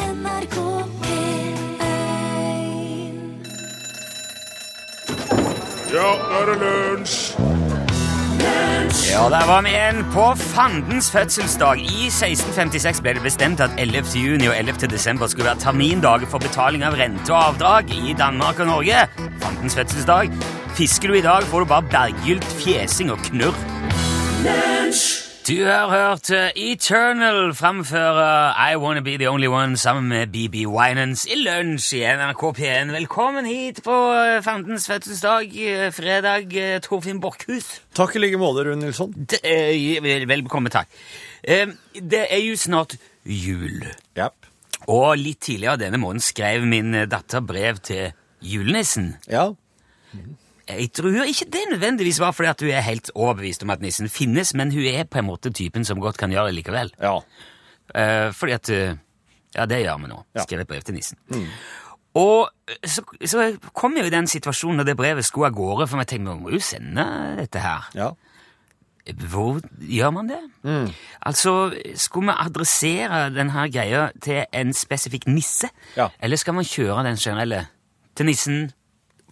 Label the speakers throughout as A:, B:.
A: NRK P1
B: Ja, nå er det lunsj!
C: Ja, der var vi igjen. På fandens fødselsdag i 1656 ble det bestemt at 11. juni og 11. desember skulle være termindager for betaling av rente og avdrag i Danmark og Norge. Fandens fødselsdag. Fisker du i dag, får du bare berggylt fjesing og knurr. Du har hørt eh, Eternal framføre I Wanna Be The Only One sammen med BB Winans i lunsj i NRK P1. Velkommen hit på eh, fandens fødselsdag, eh, fredag, eh, Torfinn Borchhus.
D: Takk i like måte, Rune Nilsson.
C: Det er, vel, velbekomme, takk. Eh, Det er jo snart jul, og litt tidligere denne måneden skrev min datter brev til julenissen.
D: Ja.
C: Jeg tror ikke det nødvendigvis var fordi at hun er helt overbevist om at nissen finnes, men hun er på en måte typen som godt kan gjøre det likevel.
D: ja.
C: Eh, fordi at eh, Ja, det gjør vi nå.
D: Ja.
C: Skrev et brev til nissen. Og eh, så, så kom jeg jo i den situasjonen da det brevet skulle av gårde, for jeg tenkte vi må jo sende dette her.
D: Ja.
C: Hvor gjør man det?
D: Mm.
C: Altså, Skulle vi adressere denne greia til en spesifikk nisse?
D: Ja.
C: Eller skal man kjøre den generelle til nissen?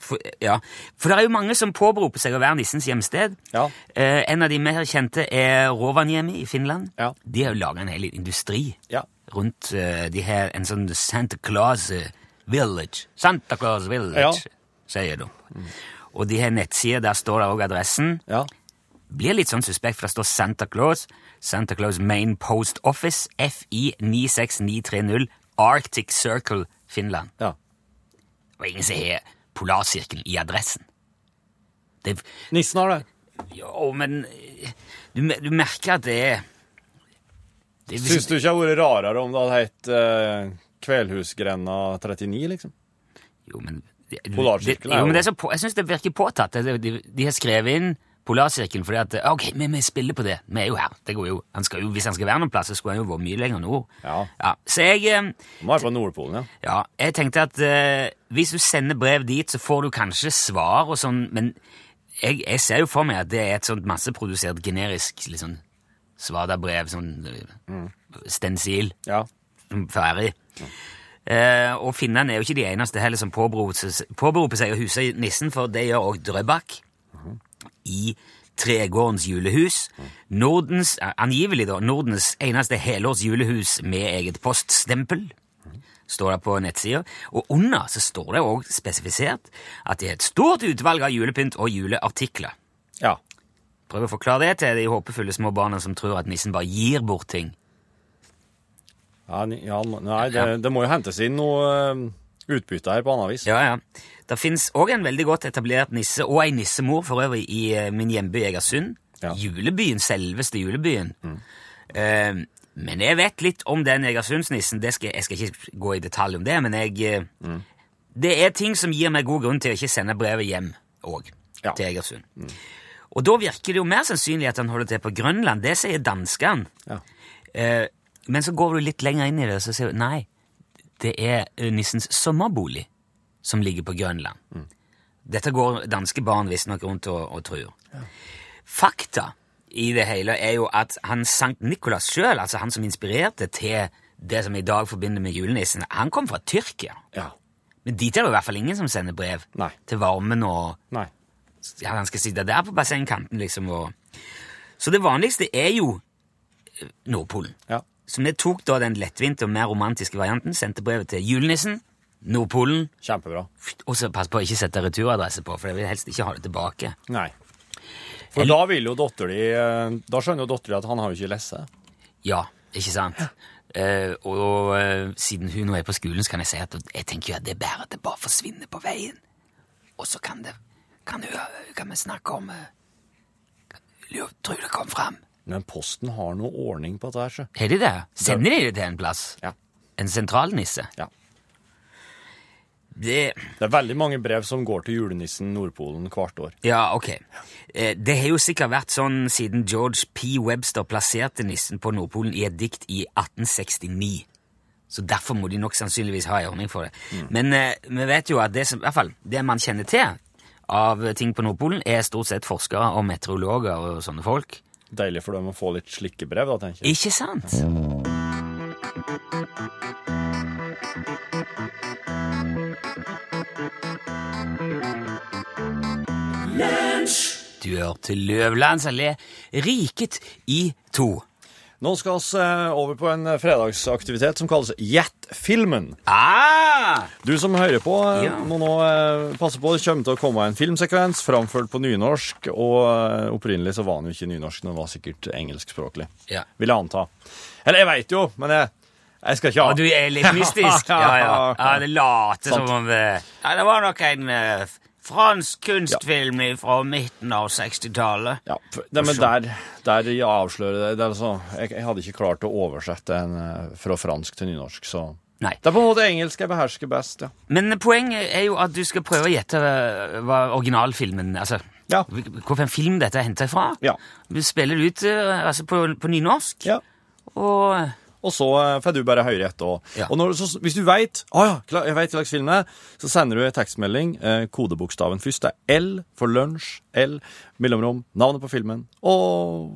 C: For, ja. For det er jo mange som påberoper seg å være nissens hjemsted.
D: Ja.
C: Eh, en av de mer kjente er Rovaniemi i Finland.
D: Ja.
C: De har jo laga en hel industri
D: Ja.
C: rundt eh, De har en sånn Santa Claus eh, Village. Santa Claus Village,
D: Ja.
C: sier de. Og de har nettsider, der står det òg adressen
D: Ja.
C: blir litt sånn suspekt, for det står Santa Claus, Santa Claus Main Post Office, FI 96930, Arctic Circle, Finland.
D: ja.
C: Og ingen som har Polarsirkelen i adressen. Det,
D: Nissen har det.
C: jo, men eh, du, me- du merker at det er det, liksom-
D: Syns du ikke det hadde vært rarere om det hadde hett eh, Kvelhusgrenda 39, liksom?
C: Jo, men det-
D: Polarsirkelen er
C: det- Jo,
D: jo-
C: men det er så på, jeg syns det virker påtatt. Det- De, de har skrevet inn Polarsirkelen fordi at eh, Ok, vi, vi spiller på det. Vi er jo her. Det går jo. Han skal jo, hvis han skal være noen plass, så skulle han jo vært mye lenger nord.
D: Ja.
C: Så jeg eh,
D: De var på Nordpolen, ja.
C: Ja, jeg tenkte at eh, hvis du sender brev dit, så får du kanskje svar og sånn, men jeg, jeg ser jo for meg at det er et sånt masseprodusert generisk litt sånn svadabrev, sånn eh, stensil,
D: Ja.
C: mm, ferdig. Eh, og finnene er jo ikke de eneste heller som påberoper seg- påberoper seg å huse nissen, for det gjør også Drøbak i Tregårdens julehus. Nordens, eh, angivelig da, Nordens eneste helårs julehus med eget poststempel, står det på nettsida. Og under så står det òg spesifisert at det er et stort utvalg av julepynt og juleartikler.
D: Ja.
C: Prøv å forklare det til de håpefulle små barna som tror at nissen bare gir bort ting.
D: ja, ni- ja nei, det, det må jo hentes inn noe eh, utbytte her på annet vis.
C: Ja, ja. Det fins òg en veldig godt etablert nisse, og ei nissemor for øvrig, i eh, min hjemby Egersund.
D: Ja.
C: Julebyen, selveste julebyen. Eh, men jeg vet litt om den Egersundsnissen. Det skal, jeg skal ikke gå i detalj om det, men jeg eh, Det er ting som gir meg god grunn til å ikke sende brevet hjem òg,
D: Ja. Mm.
C: til Egersund. Og da virker det jo mer sannsynlig at han holder til på Grønland. Det sier danskene.
D: Ja.
C: Eh, men så går du litt lenger inn i det, og så sier du nei, det er eh, nissens sommerbolig som ligger på Grønland.
D: Mm.
C: Dette går danske barn visstnok rundt og, og tror. Fakta i det hele er jo at han Sankt Nikolas sjøl, altså han som inspirerte til det som i dag forbinder med julenissen, han kom fra Tyrkia.
D: ja.
C: Men dit er det i hvert fall ingen som sender brev
D: Nei.
C: til varmen og
D: Nei.
C: ja, han skal sitte der på bassengkanten, liksom. Og... Så det vanligste er jo eh, Nordpolen.
D: Ja.
C: Så vi tok da den lettvinte og mer romantiske varianten, sendte brevet til julenissen, Nordpolen,
D: Kjempebra.
C: og så pass på å ikke sette returadresse på, for jeg vil helst ikke ha det tilbake.
D: Nei. For da vil jo datter di eh, Da skjønner jo datter di at han har jo ikke lest det.
C: Ja, ikke sant? Eh, og eh, siden hun nå er på skolen, så kan jeg si at jeg tenker jo at det er bedre at det bare forsvinner på veien. Og så kan det Kan, hun- kan vi snakke om eh, kan- Tror du det kom fram?
D: Men Posten har noe ordning på dette her, sjø.
C: Har de det? Sender de det til en plass?
D: Ja.
C: En sentralnisse?
D: Ja.
C: Det,
D: Det er veldig mange brev som går til julenissen Nordpolen hvert år.
C: ja, ok. Eh, Det har jo sikkert vært sånn siden George P. Webster plasserte nissen på Nordpolen i et dikt i 1869. Så derfor må de nok sannsynligvis ha en ordning for det. Men eh, vi vet jo at det, som, i hvert fall, det man kjenner til av ting på Nordpolen, er stort sett forskere og meteorologer og sånne folk.
D: Deilig for dem å få litt slike brev, da, tenker jeg.
C: Ikke sant? dør til Løvlands allé, riket i to.
D: Nå skal vi eh, over på en eh, fredagsaktivitet som kalles Jet-filmen.
C: Ah!
D: Du som hører på, eh,
C: Ja.
D: må nå eh, passe på. Det kommer til å komme en filmsekvens framført på nynorsk. Og eh, opprinnelig så var den jo ikke nynorsk, den var sikkert engelskspråklig.
C: Ja.
D: Vil jeg anta. Eller jeg veit jo, men jeg, jeg skal ikke ha
C: Og du er litt mystisk. Ja, ja. ja det later som om eh, Ja, det var nok en eh, fransk kunstfilm fra midten av 60-tallet.
D: Ja, f- det, men der, der jeg avslører det, det er altså, jeg, jeg hadde ikke klart å oversette en eh, fra fransk til nynorsk, så
C: Nei.
D: Det er på en måte engelsk jeg behersker best, ja.
C: Men poenget er jo at du skal prøve å gjette eh, hva originalfilmen Altså
D: Ja.
C: hvilken film dette er henta fra.
D: Ja.
C: Du spiller ut eh, altså på, på nynorsk,
D: ja.
C: og
D: Og så eh, får du bare høre etter. Og,
C: Ja.
D: og når, så, hvis du veit ah, ja, klar- jeg vet hva slags film det er, så sender du en tekstmelding. Eh, kodebokstaven først. Det er L for lunsj. L, mellomrom, navnet på filmen. Og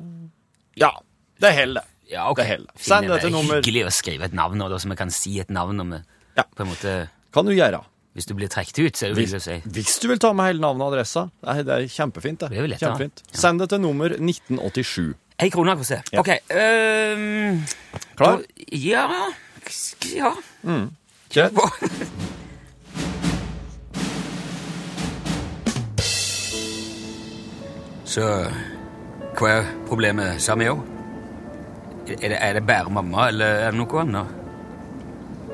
D: Ja. Det holder, det.
C: Ja, ok.
D: Det holder.
C: Finn
D: Send det til nummer
C: Hyggelig å skrive et navn, nå, da, så vi kan si et navn om vi-
D: Ja.
C: på en måte,
D: Kan du gjøre.
C: Hvis du blir trukket ut, så er det jo
D: Hvis,
C: hyggelig å si.
D: hvis du vil ta med hele navnet og adressa. Det er, det er kjempefint.
C: Det er jo lett, da.
D: kjempefint. Send det til nummer 1987.
C: Ei krone, José.
D: Ja.
C: Ok. øhm,
D: Klar?
C: da- Ja sk- Ja.
D: Kjør.
C: Så hva er problemet, Samio? Er det, er det bare mamma, eller er det noe annet?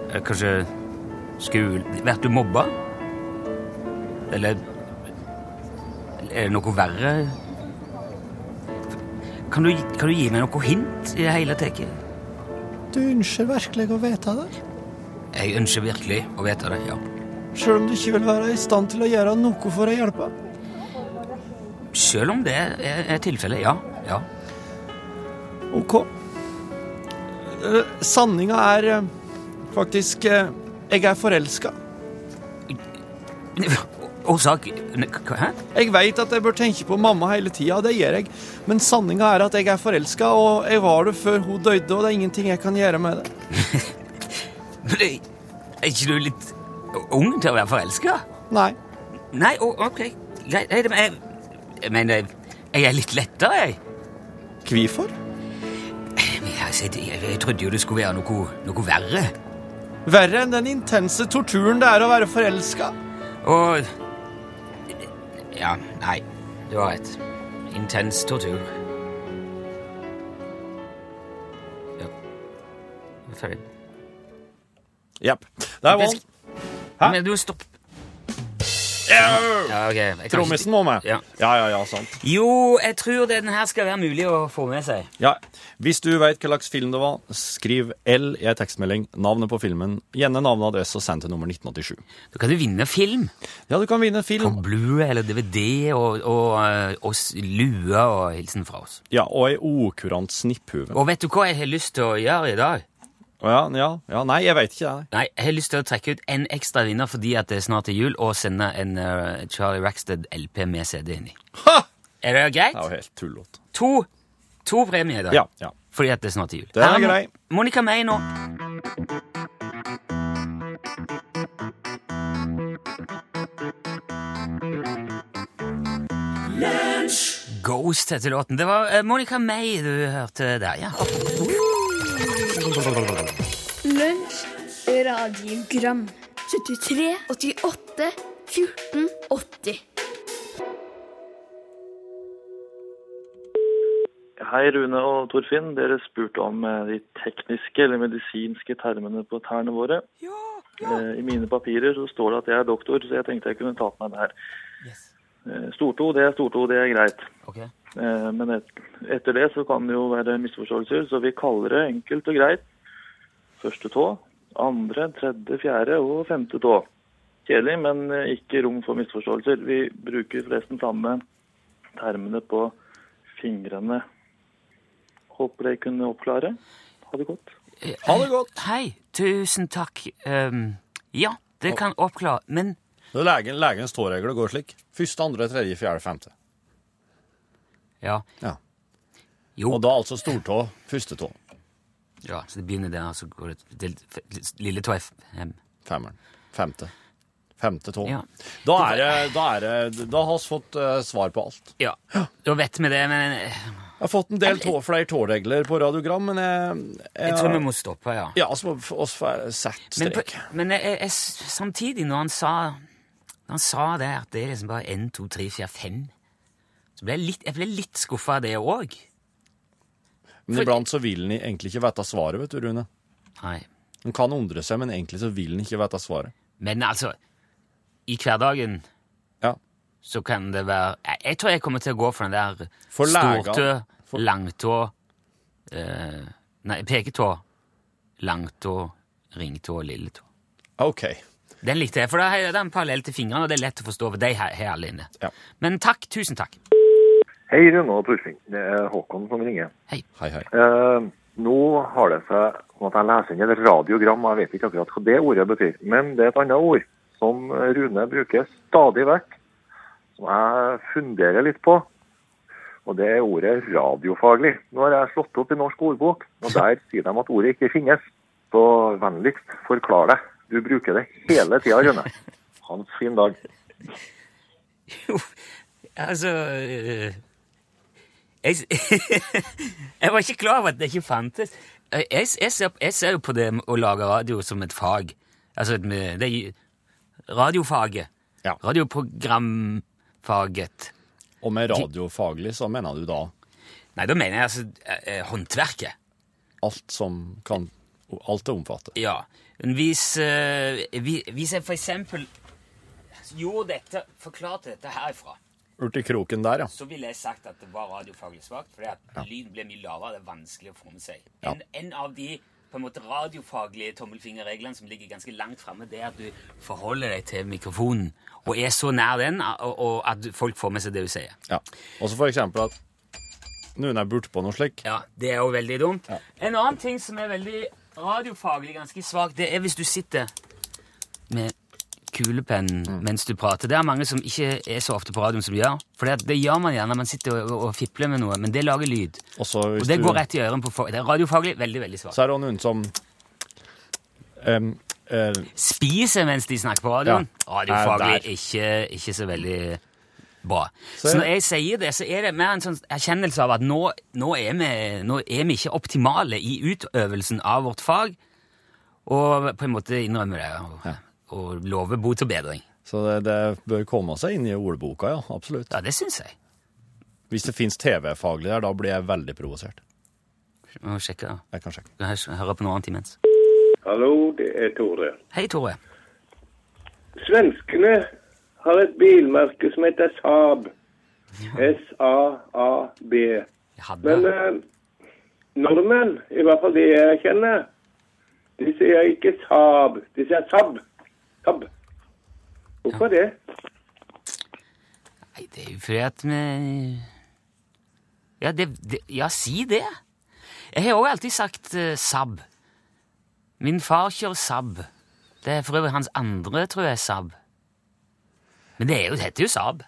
C: Er det kanskje skole... Vært du mobba? Eller er det noe verre? Kan du, kan du gi meg noe hint i det hele tatt?
D: Du ønsker virkelig å vite det?
C: Jeg ønsker virkelig å vite det, ja.
D: Sjøl om du ikke vil være i stand til å gjøre noe for å hjelpe?
C: Selv om det er, er tilfellet, ja. ja.
D: Ok. Eh, Sanninga er eh, faktisk eh, Jeg er forelska.
C: Årsak ne- hva- Hæ?
D: Jeg veit at jeg bør tenke på mamma hele tida, det gjør jeg. Men sanninga er at jeg er forelska, og jeg var det før hun døde, og det er ingenting jeg kan gjøre med det.
C: Men Er er ikke du litt ung til å være forelska?
D: Nei.
C: Nei, å, ok. Greit. Nei, det- men jeg, jeg mener jeg- Jeg er litt lettere, jeg.
D: Hvorfor?
C: Men jeg, altså, jeg, jeg trodde jo det skulle være noe, noe verre.
D: Verre enn den intense torturen det er å være forelska.
C: Og Ja, nei. Du har rett. Intens tortur. Ja. Ferdig.
D: Jepp. Der var han. Hæ?
C: Men du, stopp. Ja, ok. Jeg kan ikke-
D: Trommisen må med.
C: Ja.
D: ja, ja, ja, sant.
C: Jo, jeg tror den her skal være mulig å få med seg.
D: Ja, Hvis du veit hva slags film det var, skriv L i ei tekstmelding, navnet på filmen, gjerne navn og adresse, og send til nummer 1987.
C: Da kan du vinne film.
D: Ja, du kan vinne en
C: På
D: film.
C: Blu eller DVD og, og, eh, og s- lue og hilsen fra oss.
D: Ja, Og ei okurant snipphue. Å
C: Og vet du hva jeg har lyst til å gjøre i dag?
D: Ja, ja, ja, nei, jeg veit ikke, jeg.
C: Nei, jeg har lyst til å trekke ut en ekstra vinner fordi at det er snart er jul, og sende en eh, Charlie Rackstead LP med CD inni.
D: Ha!
C: Er det greit?
D: Det er jo helt tullete.
C: To, to premier i dag.
D: Ja, ja.
C: Fordi at det er snart er jul.
D: Den er
C: Her Mo-
D: grei.
C: Monica May nå. Ghost heter låten. Det var eh, Monica May du hørte der, ja.
A: Lunsj, radiogram 73, 88, 14, 80
E: Hei, Rune og Torfinn. Dere spurte om eh, de tekniske eller medisinske termene på tærne våre. Eh, I mine papirer så står det at jeg er doktor, så jeg tenkte jeg kunne ta på meg det her. Eh, Stortå, det er stortå, det er greit.
C: Ok.
E: Eh, Men et, etter det så kan det jo være misforståelser, så vi kaller det enkelt og greit. Første tå, andre, tredje, fjerde og femte tå. Kjedelig, men eh, ikke rom for misforståelser. Vi bruker forresten samme termene på fingrene. Håper dere kunne oppklare. Ha det godt.
D: Ha det godt.
C: Hei, tusen takk. Ehm, ja, det kan oppklare, men
D: Det er legen, legens tåregler går slik. Første, andre, tredje, fjerde, femte.
C: Ja.
D: Ja.
C: Jo.
D: Og da altså stortå, første tå,
C: ja Ehm, så det begynner der, og så går det til lille tå er f- em,
D: femmeren, femte, Femte tå.
C: Ja.
D: Da er det Da, er det, da har vi fått eh, svar på alt.
C: Ja, da vet vi det, men eh,
D: Jeg har fått en del tå, flere tåregler på radiogram, men jeg,
C: jeg tror vi må stoppe, ja.
D: Ja, altså, oss får sett
C: Men, på,
D: strek.
C: men jeg, jeg, jeg, samtidig, når han sa Når han sa det at det er liksom bare 1, 2, 3, 4, 5 Så ble jeg litt, jeg ble litt skuffa av det òg.
D: Men
C: for-
D: iblant så vil han egentlig ikke vite svaret, vet du, Rune.
C: Nei.
D: Han kan undre seg, men egentlig så vil han ikke vite svaret.
C: Men altså, i hverdagen
D: Ja.
C: så kan det være Jeg, jeg tror jeg kommer til å gå for den der
D: For lega.
C: stortå,
D: For-
C: langtå eh, Nei, peketå, langtå, ringtå, lilletå.
D: OK.
C: Den likte jeg, for da er det en parallell til fingrene, og det er lett å forstå. for de her, her alle inne.
D: Ja.
C: Men takk. Tusen takk.
F: Hei, Rune og Torfinn. Det er Håkon som ringer.
D: Hei, hei.
F: Eh, nå har det seg sånn at jeg leser inn et radiogram, og jeg vet ikke akkurat hva det ordet betyr. Men det er et annet ord som Rune bruker stadig vekk, som jeg funderer litt på. Og det er ordet radiofaglig. Nå har jeg slått opp i norsk ordbok, og der sier de at ordet ikke finnes. Så vennligst forklar deg. Du bruker det hele tida, Rune. Hans fin dag.
C: Jo, altså øh, jeg, s- jeg var ikke klar over at det ikke fantes. Jeg, jeg, ser, jeg ser jo på det med å lage radio som et fag. Altså et med, det, er jo- radiofaget.
D: Ja.
C: Radioprogramfaget.
D: Og med radiofaglig så mener du da
C: Nei, da mener jeg altså eh, håndverket.
D: alt som kan Alt det omfatter.
C: Ja. Men Hvis, eh, vi- hvis jeg for eksempel gjorde dette, forklarte dette herifra,
D: Urti kroken der, ja.
C: så ville jeg sagt at det var radiofaglig svakt, fordi at lyden ble mye lavere, det er vanskelig å få med seg.
D: Ja.
C: En, en av de på en måte radiofaglige tommelfingerreglene som ligger ganske langt framme, det er at du forholder deg til mikrofonen og er så nær den og, og at folk får med seg det du sier.
D: ja. Og så for eksempel at noen er burt på noe slik.
C: Ja, Det er jo veldig dumt. En annen ting som er veldig radiofaglig ganske svak, det er hvis du sitter med kulepennen mens du prater. Det er mange som ikke er så ofte på radioen som gjør. For det, det gjør man gjerne, man sitter og, og fipler med noe, men det lager lyd.
D: Og så hvis
C: Og det
D: du-
C: går rett i ørene på folk. Det er radiofaglig veldig veldig svakt.
D: Så er det også noen som em, eh,
C: Spiser mens de snakker på radioen.
D: Ja. Nei, der.
C: Radiofaglig ikke, ikke så veldig bra. Så,
D: Så-
C: når jeg sier det, så er det mer en sånn erkjennelse av at nå, nå, er, vi, nå er vi ikke optimale i utøvelsen av vårt fag, og på en måte innrømmer det og, og lover bot og bedring.
D: Så det, det bør komme seg inn i ordboka, ja. Absolutt.
C: Ja, det syns jeg.
D: Hvis det fins TV-faglig der, da blir jeg veldig provosert.
C: Vi må sjekke.
D: Jeg kan sjekke.
C: Vi hø- hører på noe annet imens.
G: Hallo, det er Tore.
C: Hei, Tore.
G: Svenskene har et bilmerke som heter Saab. S-A-A-B.
C: Jeg hadde
G: Men eh, nordmenn, i hvert fall de jeg kjenner, de sier ikke Saab. De sier Saab. Saab. Hvorfor det?
C: Nei, det er jo fordi at vi ja, det, det, ja, si det. Jeg har jo alltid sagt eh, Saab. Min far kjører Saab. Det er for øvrig hans andre, tror jeg, Saab. Men det, er jo, det heter jo Saab.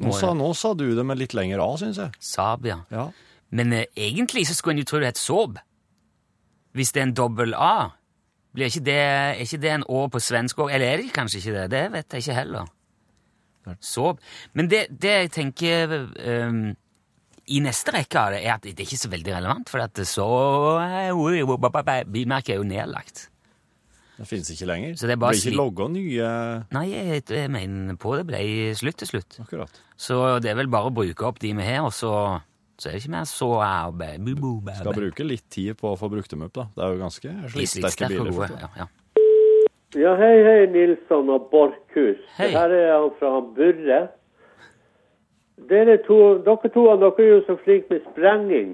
D: Nå sa, nå sa du det med litt lenger A, syns jeg.
C: Saab, ja.
D: Ja.
C: Men eh, egentlig så skulle en jo tro det het Saab. Hvis det er en dobbel A, blir ikke det, er ikke det en Å på svensk òg? Eller er det kanskje ikke det? Det vet jeg ikke heller. Saab. Men det, det jeg tenker ehm, i neste rekke av det, er at det er ikke så veldig relevant, for at så Bilmerket er jo nedlagt.
D: Det fins ikke lenger.
C: Så det er bare
D: blir
C: sli-
D: ikke logga nye
C: Nei, jeg, jeg mener på det ble slutt til slutt.
D: Akkurat.
C: Så det er vel bare å bruke opp de vi har, og så, så er det ikke mer så arbeid. Bu- bu- bu-
D: Skal bruke litt tid på å få brukt dem opp, da. Det er jo ganske
C: De er
D: slitsterke
C: slitsterke og
D: biler.
C: gode,
D: for det.
C: Ja, ja.
H: Ja, hei, hei, Nilsson og Borkhus.
C: Hei.
H: Her er han fra han Burre. Dere to, dere to dere er jo så flinke med sprenging.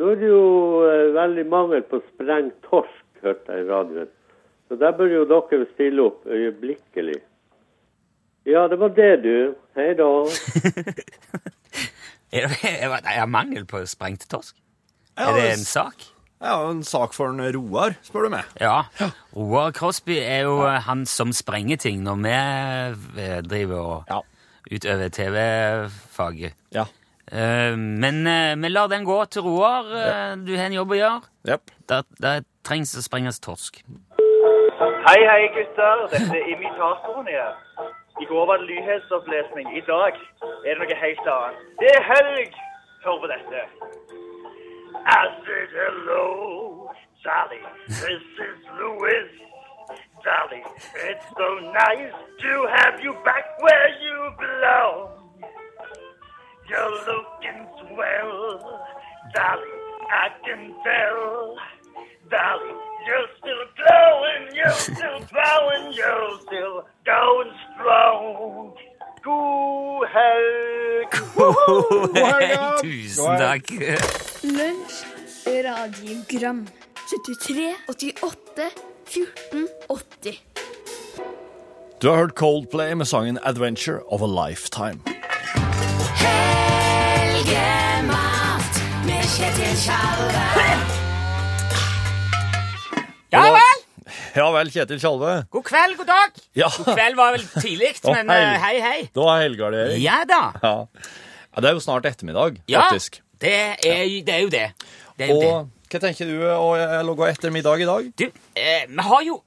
H: Nå er det jo eh, veldig mangel på sprengt torsk, hørte jeg i radioen. Så der bør jo dere stille opp øyeblikkelig. Ja, det var det, du. Hei da.
C: Er det, er det er mangel på sprengt torsk?
D: Ja,
C: er det
D: det-
C: en sak?
D: Ja, en sak for en Roar, spør du meg.
C: Ja. Roar Crosby er jo eh, han som sprenger ting når vi eh, driver og
D: Ja.
C: utøver TV-faget.
D: Ja.
C: Eh, Men eh, vi lar den gå til Roar. Eh, Du har en jobb å gjøre.
D: Jepp.
C: Det trengs å sprenges torsk.
I: Hei, hei, gutter. Dette er imitatoren her. I går var det lyhetsopplesning. I dag er det noe helt annet. Det er helg! Hør på dette. I said hello, Sally. This is Louis. Sally, it's so nice to have you back where you belong. You're looking swell, Sally. I can tell. Dolly, you're still glowing, you're still glowing, you're still going strong. God helg.
C: Tusen takk.
A: Lunsj radiogram 73 88 14 80
D: Du har hørt Coldplay med sangen 'Adventure of a Lifetime'.
J: Helgemat med Kjetil Tjalve.
C: Ja vel!
D: Ja vel, Kjetil Tjalve.
C: God kveld, god dag.
D: Ja.
C: God kveld var vel tidlig,
D: Å,
C: men
D: hei.
C: eh, hei, hei.
D: Da er helga det, Erik.
C: Ja da.
D: Ja. ja. Det er jo snart ettermiddag,
C: Ja,
D: faktisk.
C: det er, jo- det er jo det. Det er jo det.
D: Og hva tenker du eh, å eh, logge ettermiddag i dag?
C: Du, eh, vi har jo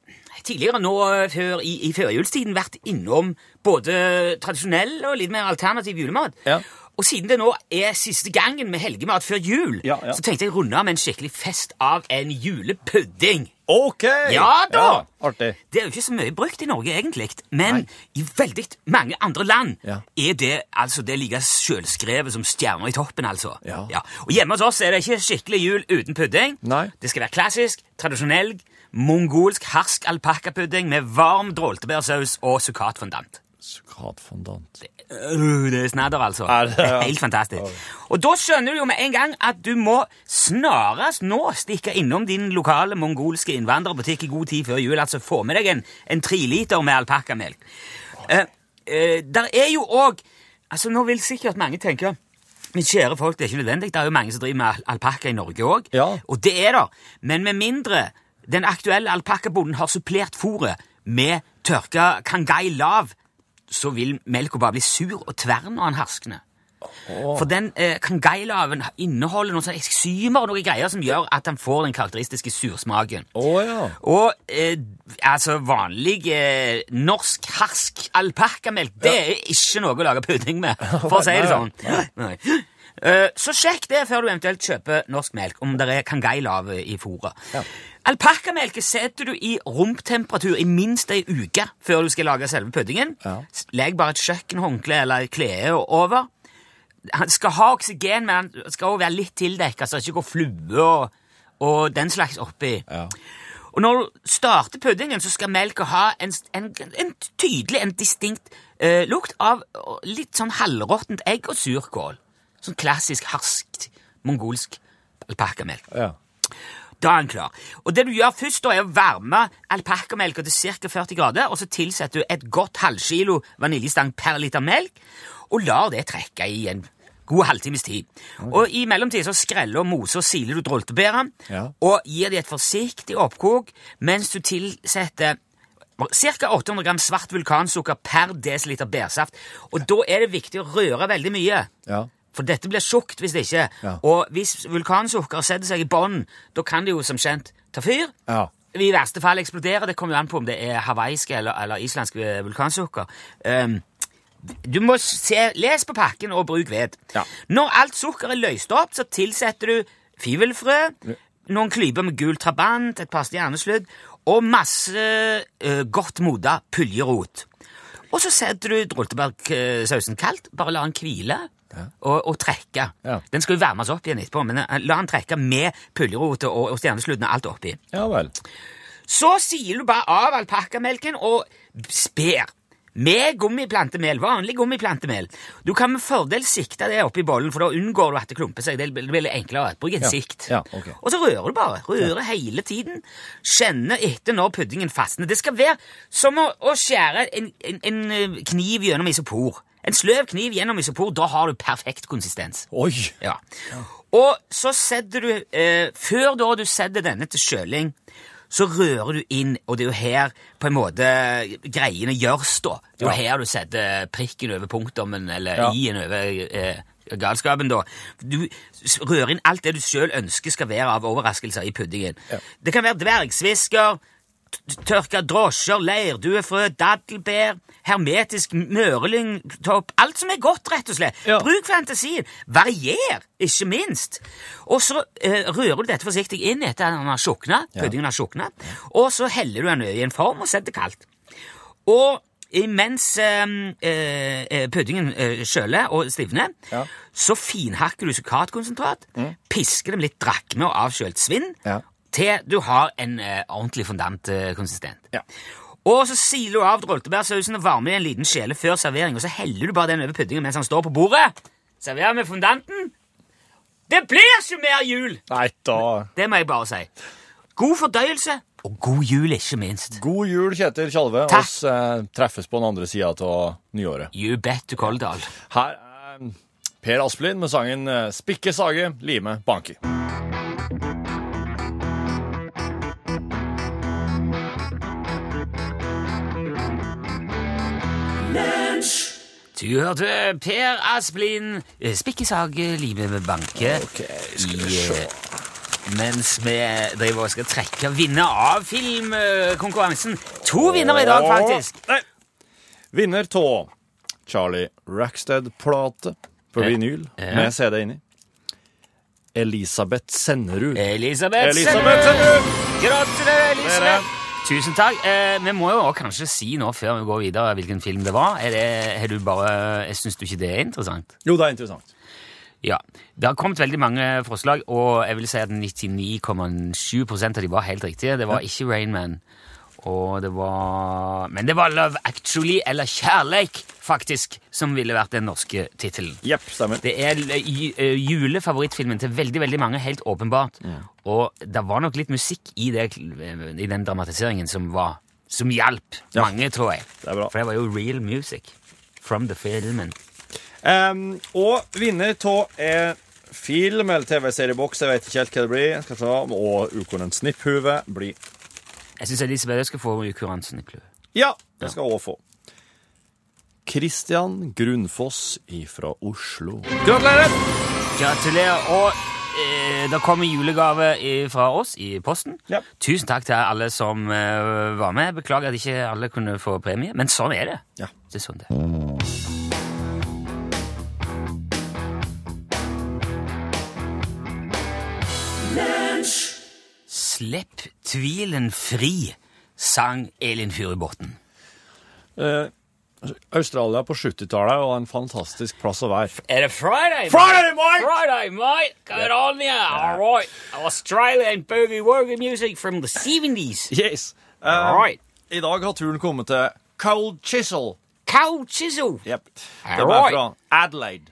C: tidligere nå eh, før, i, i førjulstiden vært innom både tradisjonell og litt mer alternativ julemat.
D: Ja.
C: Og siden det nå er siste gangen med helgemat før jul,
D: Ja, ja.
C: så tenkte jeg å runde av med en skikkelig fest av en julepudding.
D: OK!
C: Ja da!
D: artig.
C: Det er jo ikke så mye brukt i Norge egentlig, men i veldig mange andre land
D: Ja.
C: er det altså det like selvskrevet som stjerner i toppen, altså.
D: Ja.
C: Og hjemme hos oss er det ikke skikkelig jul uten pudding.
D: Nei.
C: Det skal være klassisk, tradisjonell, mongolsk harsk alpakkapudding med varm droltebærsaus og sukkatfondant.
D: Sukatfondant.
C: Øh, Det er snadder, altså.
D: Ja, det er-
C: Det er helt fantastisk. Og da skjønner du jo med en gang at du må snarest nå stikke innom din lokale mongolske innvandrerbutikk i god tid før jul. Altså få med deg en, en treliter med alpakkamelk. Eh, eh, der er jo òg Altså, nå vil sikkert mange tenke men kjære folk, det er ikke nødvendig. Det er jo mange som driver med al- alpakka i Norge òg.
D: Ja.
C: Og det er det. Men med mindre den aktuelle alpakkabonden har supplert fôret med tørka kangai lav, så vil melka bare bli sur og tvern av en harskende. For den eh, kangailaven inneholder noen sånne eksymer og noen greier som gjør at den får den karakteristiske sursmaken.
D: Å ja.
C: Og eh, altså vanlig eh, norsk harsk alpakkamelk, det er ikke noe å lage pudding med, for å si det sånn. Nei. Eh, så sjekk det før du eventuelt kjøper norsk melk, om det er kangailave i fôret. Alpakkamelk setter du i romtemperatur i minst ei uke før du skal lage selve puddingen. S- Legg bare et kjøkkenhåndkle eller et klede over. Han skal ha oksygen, men han skal også være litt tildekka, så det ikke går flue og, og den slags oppi. Og når du starter puddingen, så skal melka ha en, en, en tydelig, en distinkt eh, lukt av eh, litt sånn halvråttent egg og surkål. Sånn klassisk harskt mongolsk alpakkamelk.
D: ja.
C: Da er den klar. Og det du gjør først, da, er å varme alpakkamelka til ca. 40 grader, og så tilsetter du et godt halvkilo vaniljestang per liter melk, og lar det trekke i en god halvtimes tid. Og i mellomtiden så skreller og moser og siler du droltebæra,
D: Ja.
C: og gir det et forsiktig oppkok mens du tilsetter Ca. 800 gram svart vulkansukker per desiliter bærsaft. Og da er det viktig å røre veldig mye.
D: Ja.
C: For dette blir tjukt hvis det ikke.
D: Ja.
C: Og hvis vulkansukker setter seg i bånn, da kan det jo som kjent ta fyr.
D: Ja.
C: I verste fall eksplodere. Det kommer jo an på om det er hawaiiske eller, eller islandske eh, vulkansukker. Ehm, du må se, les på pakken og bruk ved.
D: Ja.
C: Når alt sukker er løst opp, så tilsetter du fivelfrø, noen klyper med gul trabant, et par stjernesludd og masse eh, godt moda puljerot. Og så setter du droltebergsausen kaldt, bare la den hvile og, og trekke.
D: Ja.
C: Den skal jo varmes opp igjen etterpå, men eh, la den trekke med puljerote og, og stjernesludden og alt oppi.
D: Ja vel.
C: Så siler du bare av alpakkamelken og sper. Med gummiplantemel, vanlig gummiplantemel. Du kan med fordel sikte det oppi bollen, for da unngår du at det klumper seg. Det blir- det blir enklere. Bruk en
D: Ja,
C: sikt.
D: ja, ok.
C: Og så rører du bare. Rører hele tiden. Kjenne etter når puddingen fastner. Det skal være som å, å skjære en, en, en eh, kniv gjennom isopor. En sløv kniv gjennom isopor. Da har du perfekt konsistens.
D: Oi.
C: Ja. Og så setter du, eh, før da du setter denne til kjøling, så rører du inn, og det er jo her på en måte greiene gjørs da. Det er jo her du setter prikken over punktummen, eller
D: Ja.
C: i-en over eh, galskapen da. Du s- rører inn alt det du selv ønsker skal være av overraskelser i puddingen. Det kan være dvergsvisker, t- tørka drosjer, leirduefrø, dadelbær, hermetisk mørlyngtopp Alt som er godt, rett og slett. Bruk fantasien. Varier, ikke minst. Og så eh, rører du dette forsiktig inn etter at den har sjukna,
K: Ja.
C: puddingen har sjukna, og så heller du den i en form og setter kaldt. Og imens eh, eh, puddingen eh, kjøler og stivner, så finhakker du sukkerkonsentrat, pisker dem litt drakme og avkjølt svinn, til du har en eh, ordentlig fondant eh, konsistent. Og så siler du av droltebærsausen og varmer i en liten kjele før servering, og så heller du bare den over puddingen mens han står på bordet. Serverer med fondanten. Det blir ikke mer jul!
D: Nei, da...
C: Det må jeg bare si. God fordøyelse. Og god jul, ikke minst.
D: God jul, Kjetil Tjalve. Takk. Oss eh, treffes på den andre sida av nyåret.
C: You bet du Koldal.
D: Her er eh, Per Asplin med sangen eh, 'Spikke sage, lime banki'.
C: Du hørte Per Asplin, eh, spikkesage, Live Banke i, eh, Mens vi driver og skal trekke vinner av filmkonkurransen. To vinnere i dag, faktisk.
D: Nei. Vinner av Charlie Rackstead-plate på
C: Ja.
D: vinyl
C: Ja.
D: med CD inni. Elisabeth Sennerud.
C: Eh. Elisabeth,
D: Elisabeth
C: Sennerud! Gratulerer,
D: Dere.
C: Elisabeth! Tusen takk. Eh, vi må jo også kanskje si nå før vi går videre hvilken film det var. Er det, er du bare, jeg syns du ikke det er interessant?
D: Jo, det er interessant.
C: Ja. Det har kommet veldig mange forslag, og jeg vil si at 99,7 av de var helt riktige. Det var ikke Rain Man. Og det var Men det var Love Actually, eller Kjærleik, faktisk, som ville vært den norske tittelen. Det er l- i- eh, julefavorittfilmen til veldig, veldig mange, helt åpenbart. Og det var nok litt musikk i, det, eh, i den dramatiseringen som var Som hjalp mange, tror jeg. For det var jo real music from the filmen.
D: Em, og vinner av er film eller TV-serieboks, jeg vet ikke helt hva det blir. Jeg skal se. Og ukonen Snipphue blir
C: Jeg syns Elisabeth skal få ukuransen i klø.
D: Ja, det skal hun òg få. Christian Grunnfoss ifra Oslo. Gratulerer!
C: Gratulerer. Og eh, det kommer julegave i- fra oss i posten. Tusen takk til alle som eh, var med. Beklager at ikke alle kunne få premie, men sånn er det. Det er sånn det. er. Slipp tvilen fri, sang Elin Furubotn.
D: Eh, Australia på 70-tallet var en fantastisk plass å være.
C: Er det Friday?
D: Friday,
C: mate! Friday, eh, mate! Get on there! All right. Australian boogie woogie music from the 70s.
D: Yes. Eh,
C: All right.
D: I dag har turen kommet til Cold Chisel.
C: Cold Chisel?
D: Yep.
C: All
D: Det var
C: right.
D: fra Adelaide.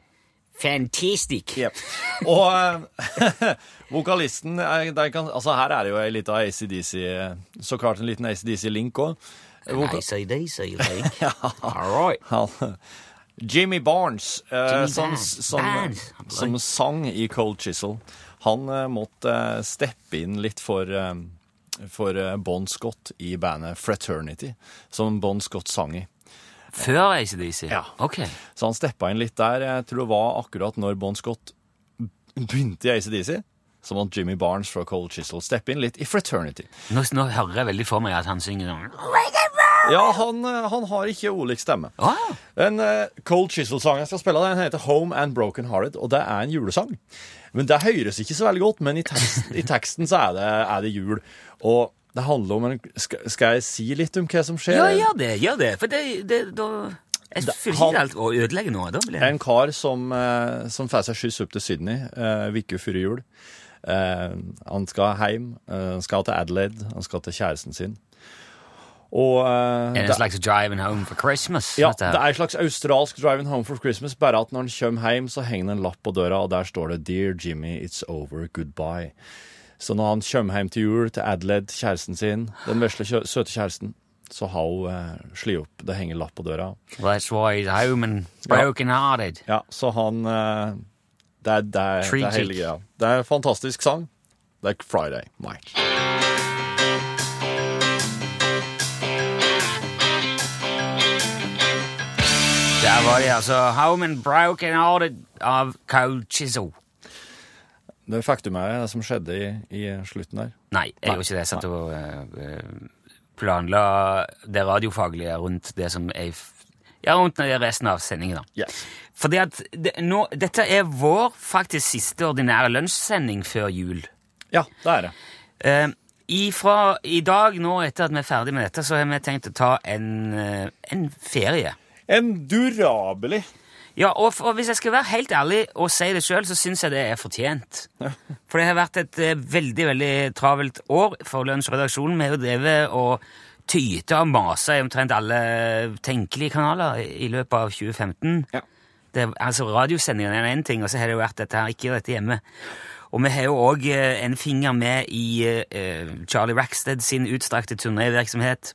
C: Fantastic.
D: Yep. Og eh, vokalisten eh, der kan, Altså, her er det jo ei lita ACDC eh, Så klart en liten ACDC-link òg.
C: ACDC-link.
D: All right. Jimmy Barnes, eh,
C: Jimmy
D: som,
C: Barnes.
D: som,
C: Barnes.
D: som sang i Cold Chisel, han eh, måtte eh, steppe inn litt for eh, for eh, Bon Scott i bandet Fraternity, som Bon Scott sang i.
C: Før ACDC? Ja. Ok.
D: Så han steppa inn litt der. Jeg tror det var akkurat når Bon Scott begynte i ACDC, så måtte Jimmy Barnes fra Cold Chisel steppe inn litt i Fraternity.
C: Nå, nå hører jeg veldig for meg at han synger sånn
D: Ja, han, eh, han har ikke ulik stemme.
C: Oh.
D: En eh, Cold Chisel-sang jeg skal spille, den heter Home and Broken Hearted, og det er en julesang. Men det høres ikke så veldig godt, men i teksten, i teksten så er det, er det jul. Og det handler om en, skal, skal jeg si litt om hva som skjer?
C: Ja, gjør det, gjør det. For det, det da Jeg føler ikke alt å ødelegge noe. da blir jeg.
D: En kar som, eh, som får seg skyss opp til Sydney eh, uke før jul. Eh, han skal hjem. Eh, han skal til Adelaide. Han skal til kjæresten sin. Og eh,
C: Er det en slags driving home for Christmas?
D: ja,
C: dette her?
D: det er en slags australsk driving home for Christmas, bare at når han kommer hjem, så henger det en lapp på døra, og der står det 'Dear Jimmy, it's over, goodbye'. Så når han kommer hjem til jul til Adelaide, kjæresten sin, den vesle, kjø- søte kjæresten, så har hun eh, sli opp, det henger en lapp på døra.
C: That's why he's home and broken hearted.
D: Ja, så han eh, Det er, det er, det er
C: Tragic.
D: hele greia. Det er en fantastisk sang. Det er Friday Night.
C: Der var de altså. Home and broken hearted av Cold Chisel.
D: Det fikk du med deg, det som skjedde i, i slutten der?
C: Nei, jeg
D: Nei.
C: gjorde ikke det. Jeg satt og eh, eh, planla det radiofaglige rundt det som er i f- Ja, rundt det resten av sendingen, da. Fordi at det, nå, dette er vår faktisk siste ordinære lunsjsending før jul.
D: Ja, det er det.
C: Eh, ifra i dag, nå etter at vi er ferdig med dette, så har vi tenkt å ta en, eh, en ferie.
D: En durabelig.
C: Ja, og, f- og hvis jeg skal være helt ærlig og si det sjøl, så syns jeg det er fortjent. For det har vært et eh, veldig veldig travelt år for Lunsjredaksjonen. Vi har jo drevet og tyta og masa i omtrent alle tenkelige kanaler i, i løpet av 2015. Det, altså Radiosendingene er én ting, og så har det jo vært dette her, ikke dette hjemme. Og vi har jo òg en finger med i eh, Charlie Rackstead sin utstrakte turnévirksomhet,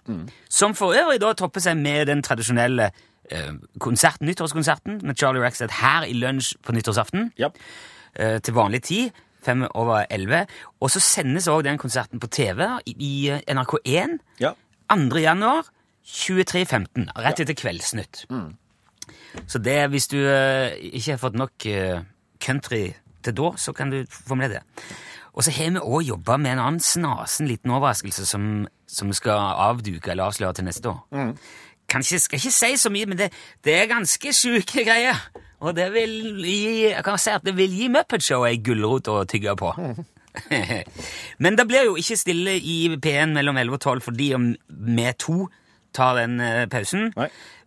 C: som for øvrig da topper seg med den tradisjonelle eh, konserten, nyttårskonserten med Charlie Rackstead her i lunsj på nyttårsaften eh, til vanlig tid, fem over elleve. Og så sendes òg den konserten på TV da, i, i eh, NRK1 2. januar 23.15, rett etter Kveldsnytt. Så det, hvis du eh, ikke har fått nok eh, country til da, så kan du få med deg det. Og så har vi òg jobba med en annen snasen liten overraskelse som, som skal avduke eller avsløre til neste år. Kan ikke, skal ikke si så mye, men det, det er ganske sjuke greier. Og det vil gi, jeg kan si at det vil gi Muppet Show ei gulrot å tygge på. men det blir jo ikke stille i P1 mellom 11 og 12 fordi om vi to tar den eh, pausen.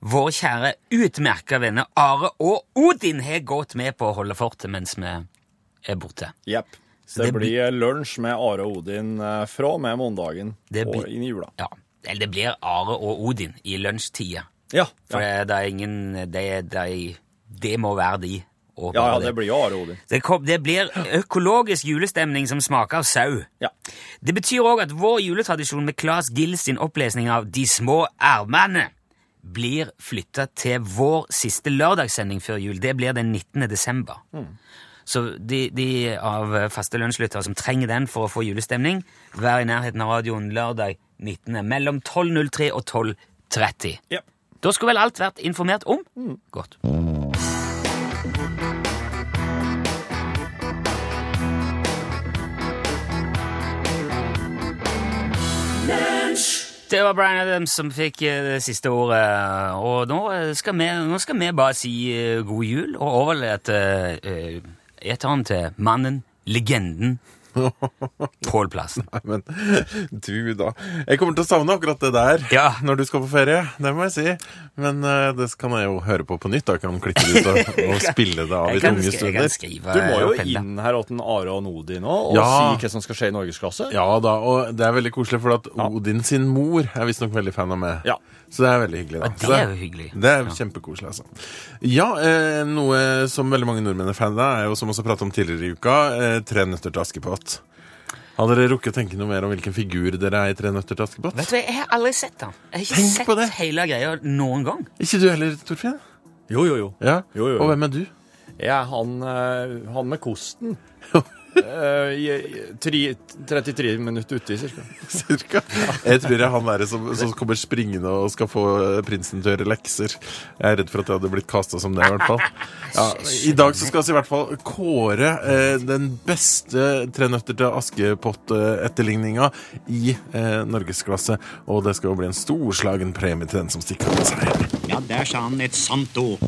C: Vår kjære utmerka venner Are og Odin har gått med på å holde fortet mens vi er borte.
D: Jepp.
C: Så
D: Det,
C: det blir-
D: blir lunsj med Are og Odin eh, fra og med mandagen
C: Det
D: og
C: blir-
D: inn i jula.
C: Ja, eller det blir Are og Odin i lunsjtida.
D: Ja,
C: For det, det er ingen Det, det, det må være de. og
D: Ja, ja,
C: bare
D: det blir jo Are og Odin.
C: Det, kom, det blir økologisk julestemning som smaker av sau. Det betyr òg at vår juletradisjon med Claes Gill sin opplesning av De små ermene blir flytta til vår siste lørdagssending før jul. Det blir den 19. desember. Så de, de av faste lunsjlyttere som trenger den for å få julestemning, vær i nærheten av radioen lørdag 19. mellom 12.03 og 12.30. Da skulle vel alt vært informert om?
D: Mm.
C: Godt. Det var Brian Adams som fikk eh, det siste ordet, og nå eh, skal vi, nå skal vi bare si eh, god jul og overlate eh, eteren til mannen, legenden, Pål Plassen.
K: Men du, da. Jeg kommer til å savne akkurat det der når du skal på ferie. Det må jeg si. Men eh, det kan jeg jo høre på på nytt. Da Jeg kan klippe det ut og, og spille det av i tunge stunder.
D: du
C: eh,
D: må jo inn her åt en Are og en Odin nå, og
K: Ja.
D: si hva som skal skje i norgesklasse.
K: Ja da, og det er veldig koselig, for at Odin sin mor er visstnok veldig fan av meg.
D: Ja.
K: Så det er veldig hyggelig, da.
D: Ja, det
K: Så
D: er jo hyggelig.
K: Det er kjempekoselig, altså. Ja, eh, noe som veldig mange nordmenn er fan av, er jo som også pratet om tidligere i uka, eh, Tre nøtter til Askepott. Har dere rukket å tenke noe mer om hvilken figur dere er i Tre nøtter til Askepott?
C: Vet du hva, jeg har aldri sett den. Jeg har ikke sett hele greia noen gang.
K: Ikke du heller, Torfinn?
D: Jo, jo, jo.
K: Ja.
D: jo, jo, jo.
K: Og hvem er du?
D: Jeg er han, eh, han med kosten. Eh, i- i- tri, 33 minutter ute i cirka.
K: cirka. Jeg tror jeg er han der som, som kommer springende og skal få eh, prinsen til å gjøre lekser. Jeg er redd for at jeg hadde blitt kasta som det, i hvert fall. Ja, I dag så skal vi i hvert fall kåre eh, den beste Tre nøtter til Askepott-etterligninga i eh, norgesklasse. Og det skal jo bli en storslagen premie til den som stikker av med seieren.
L: Ja, der sa han et sant ord.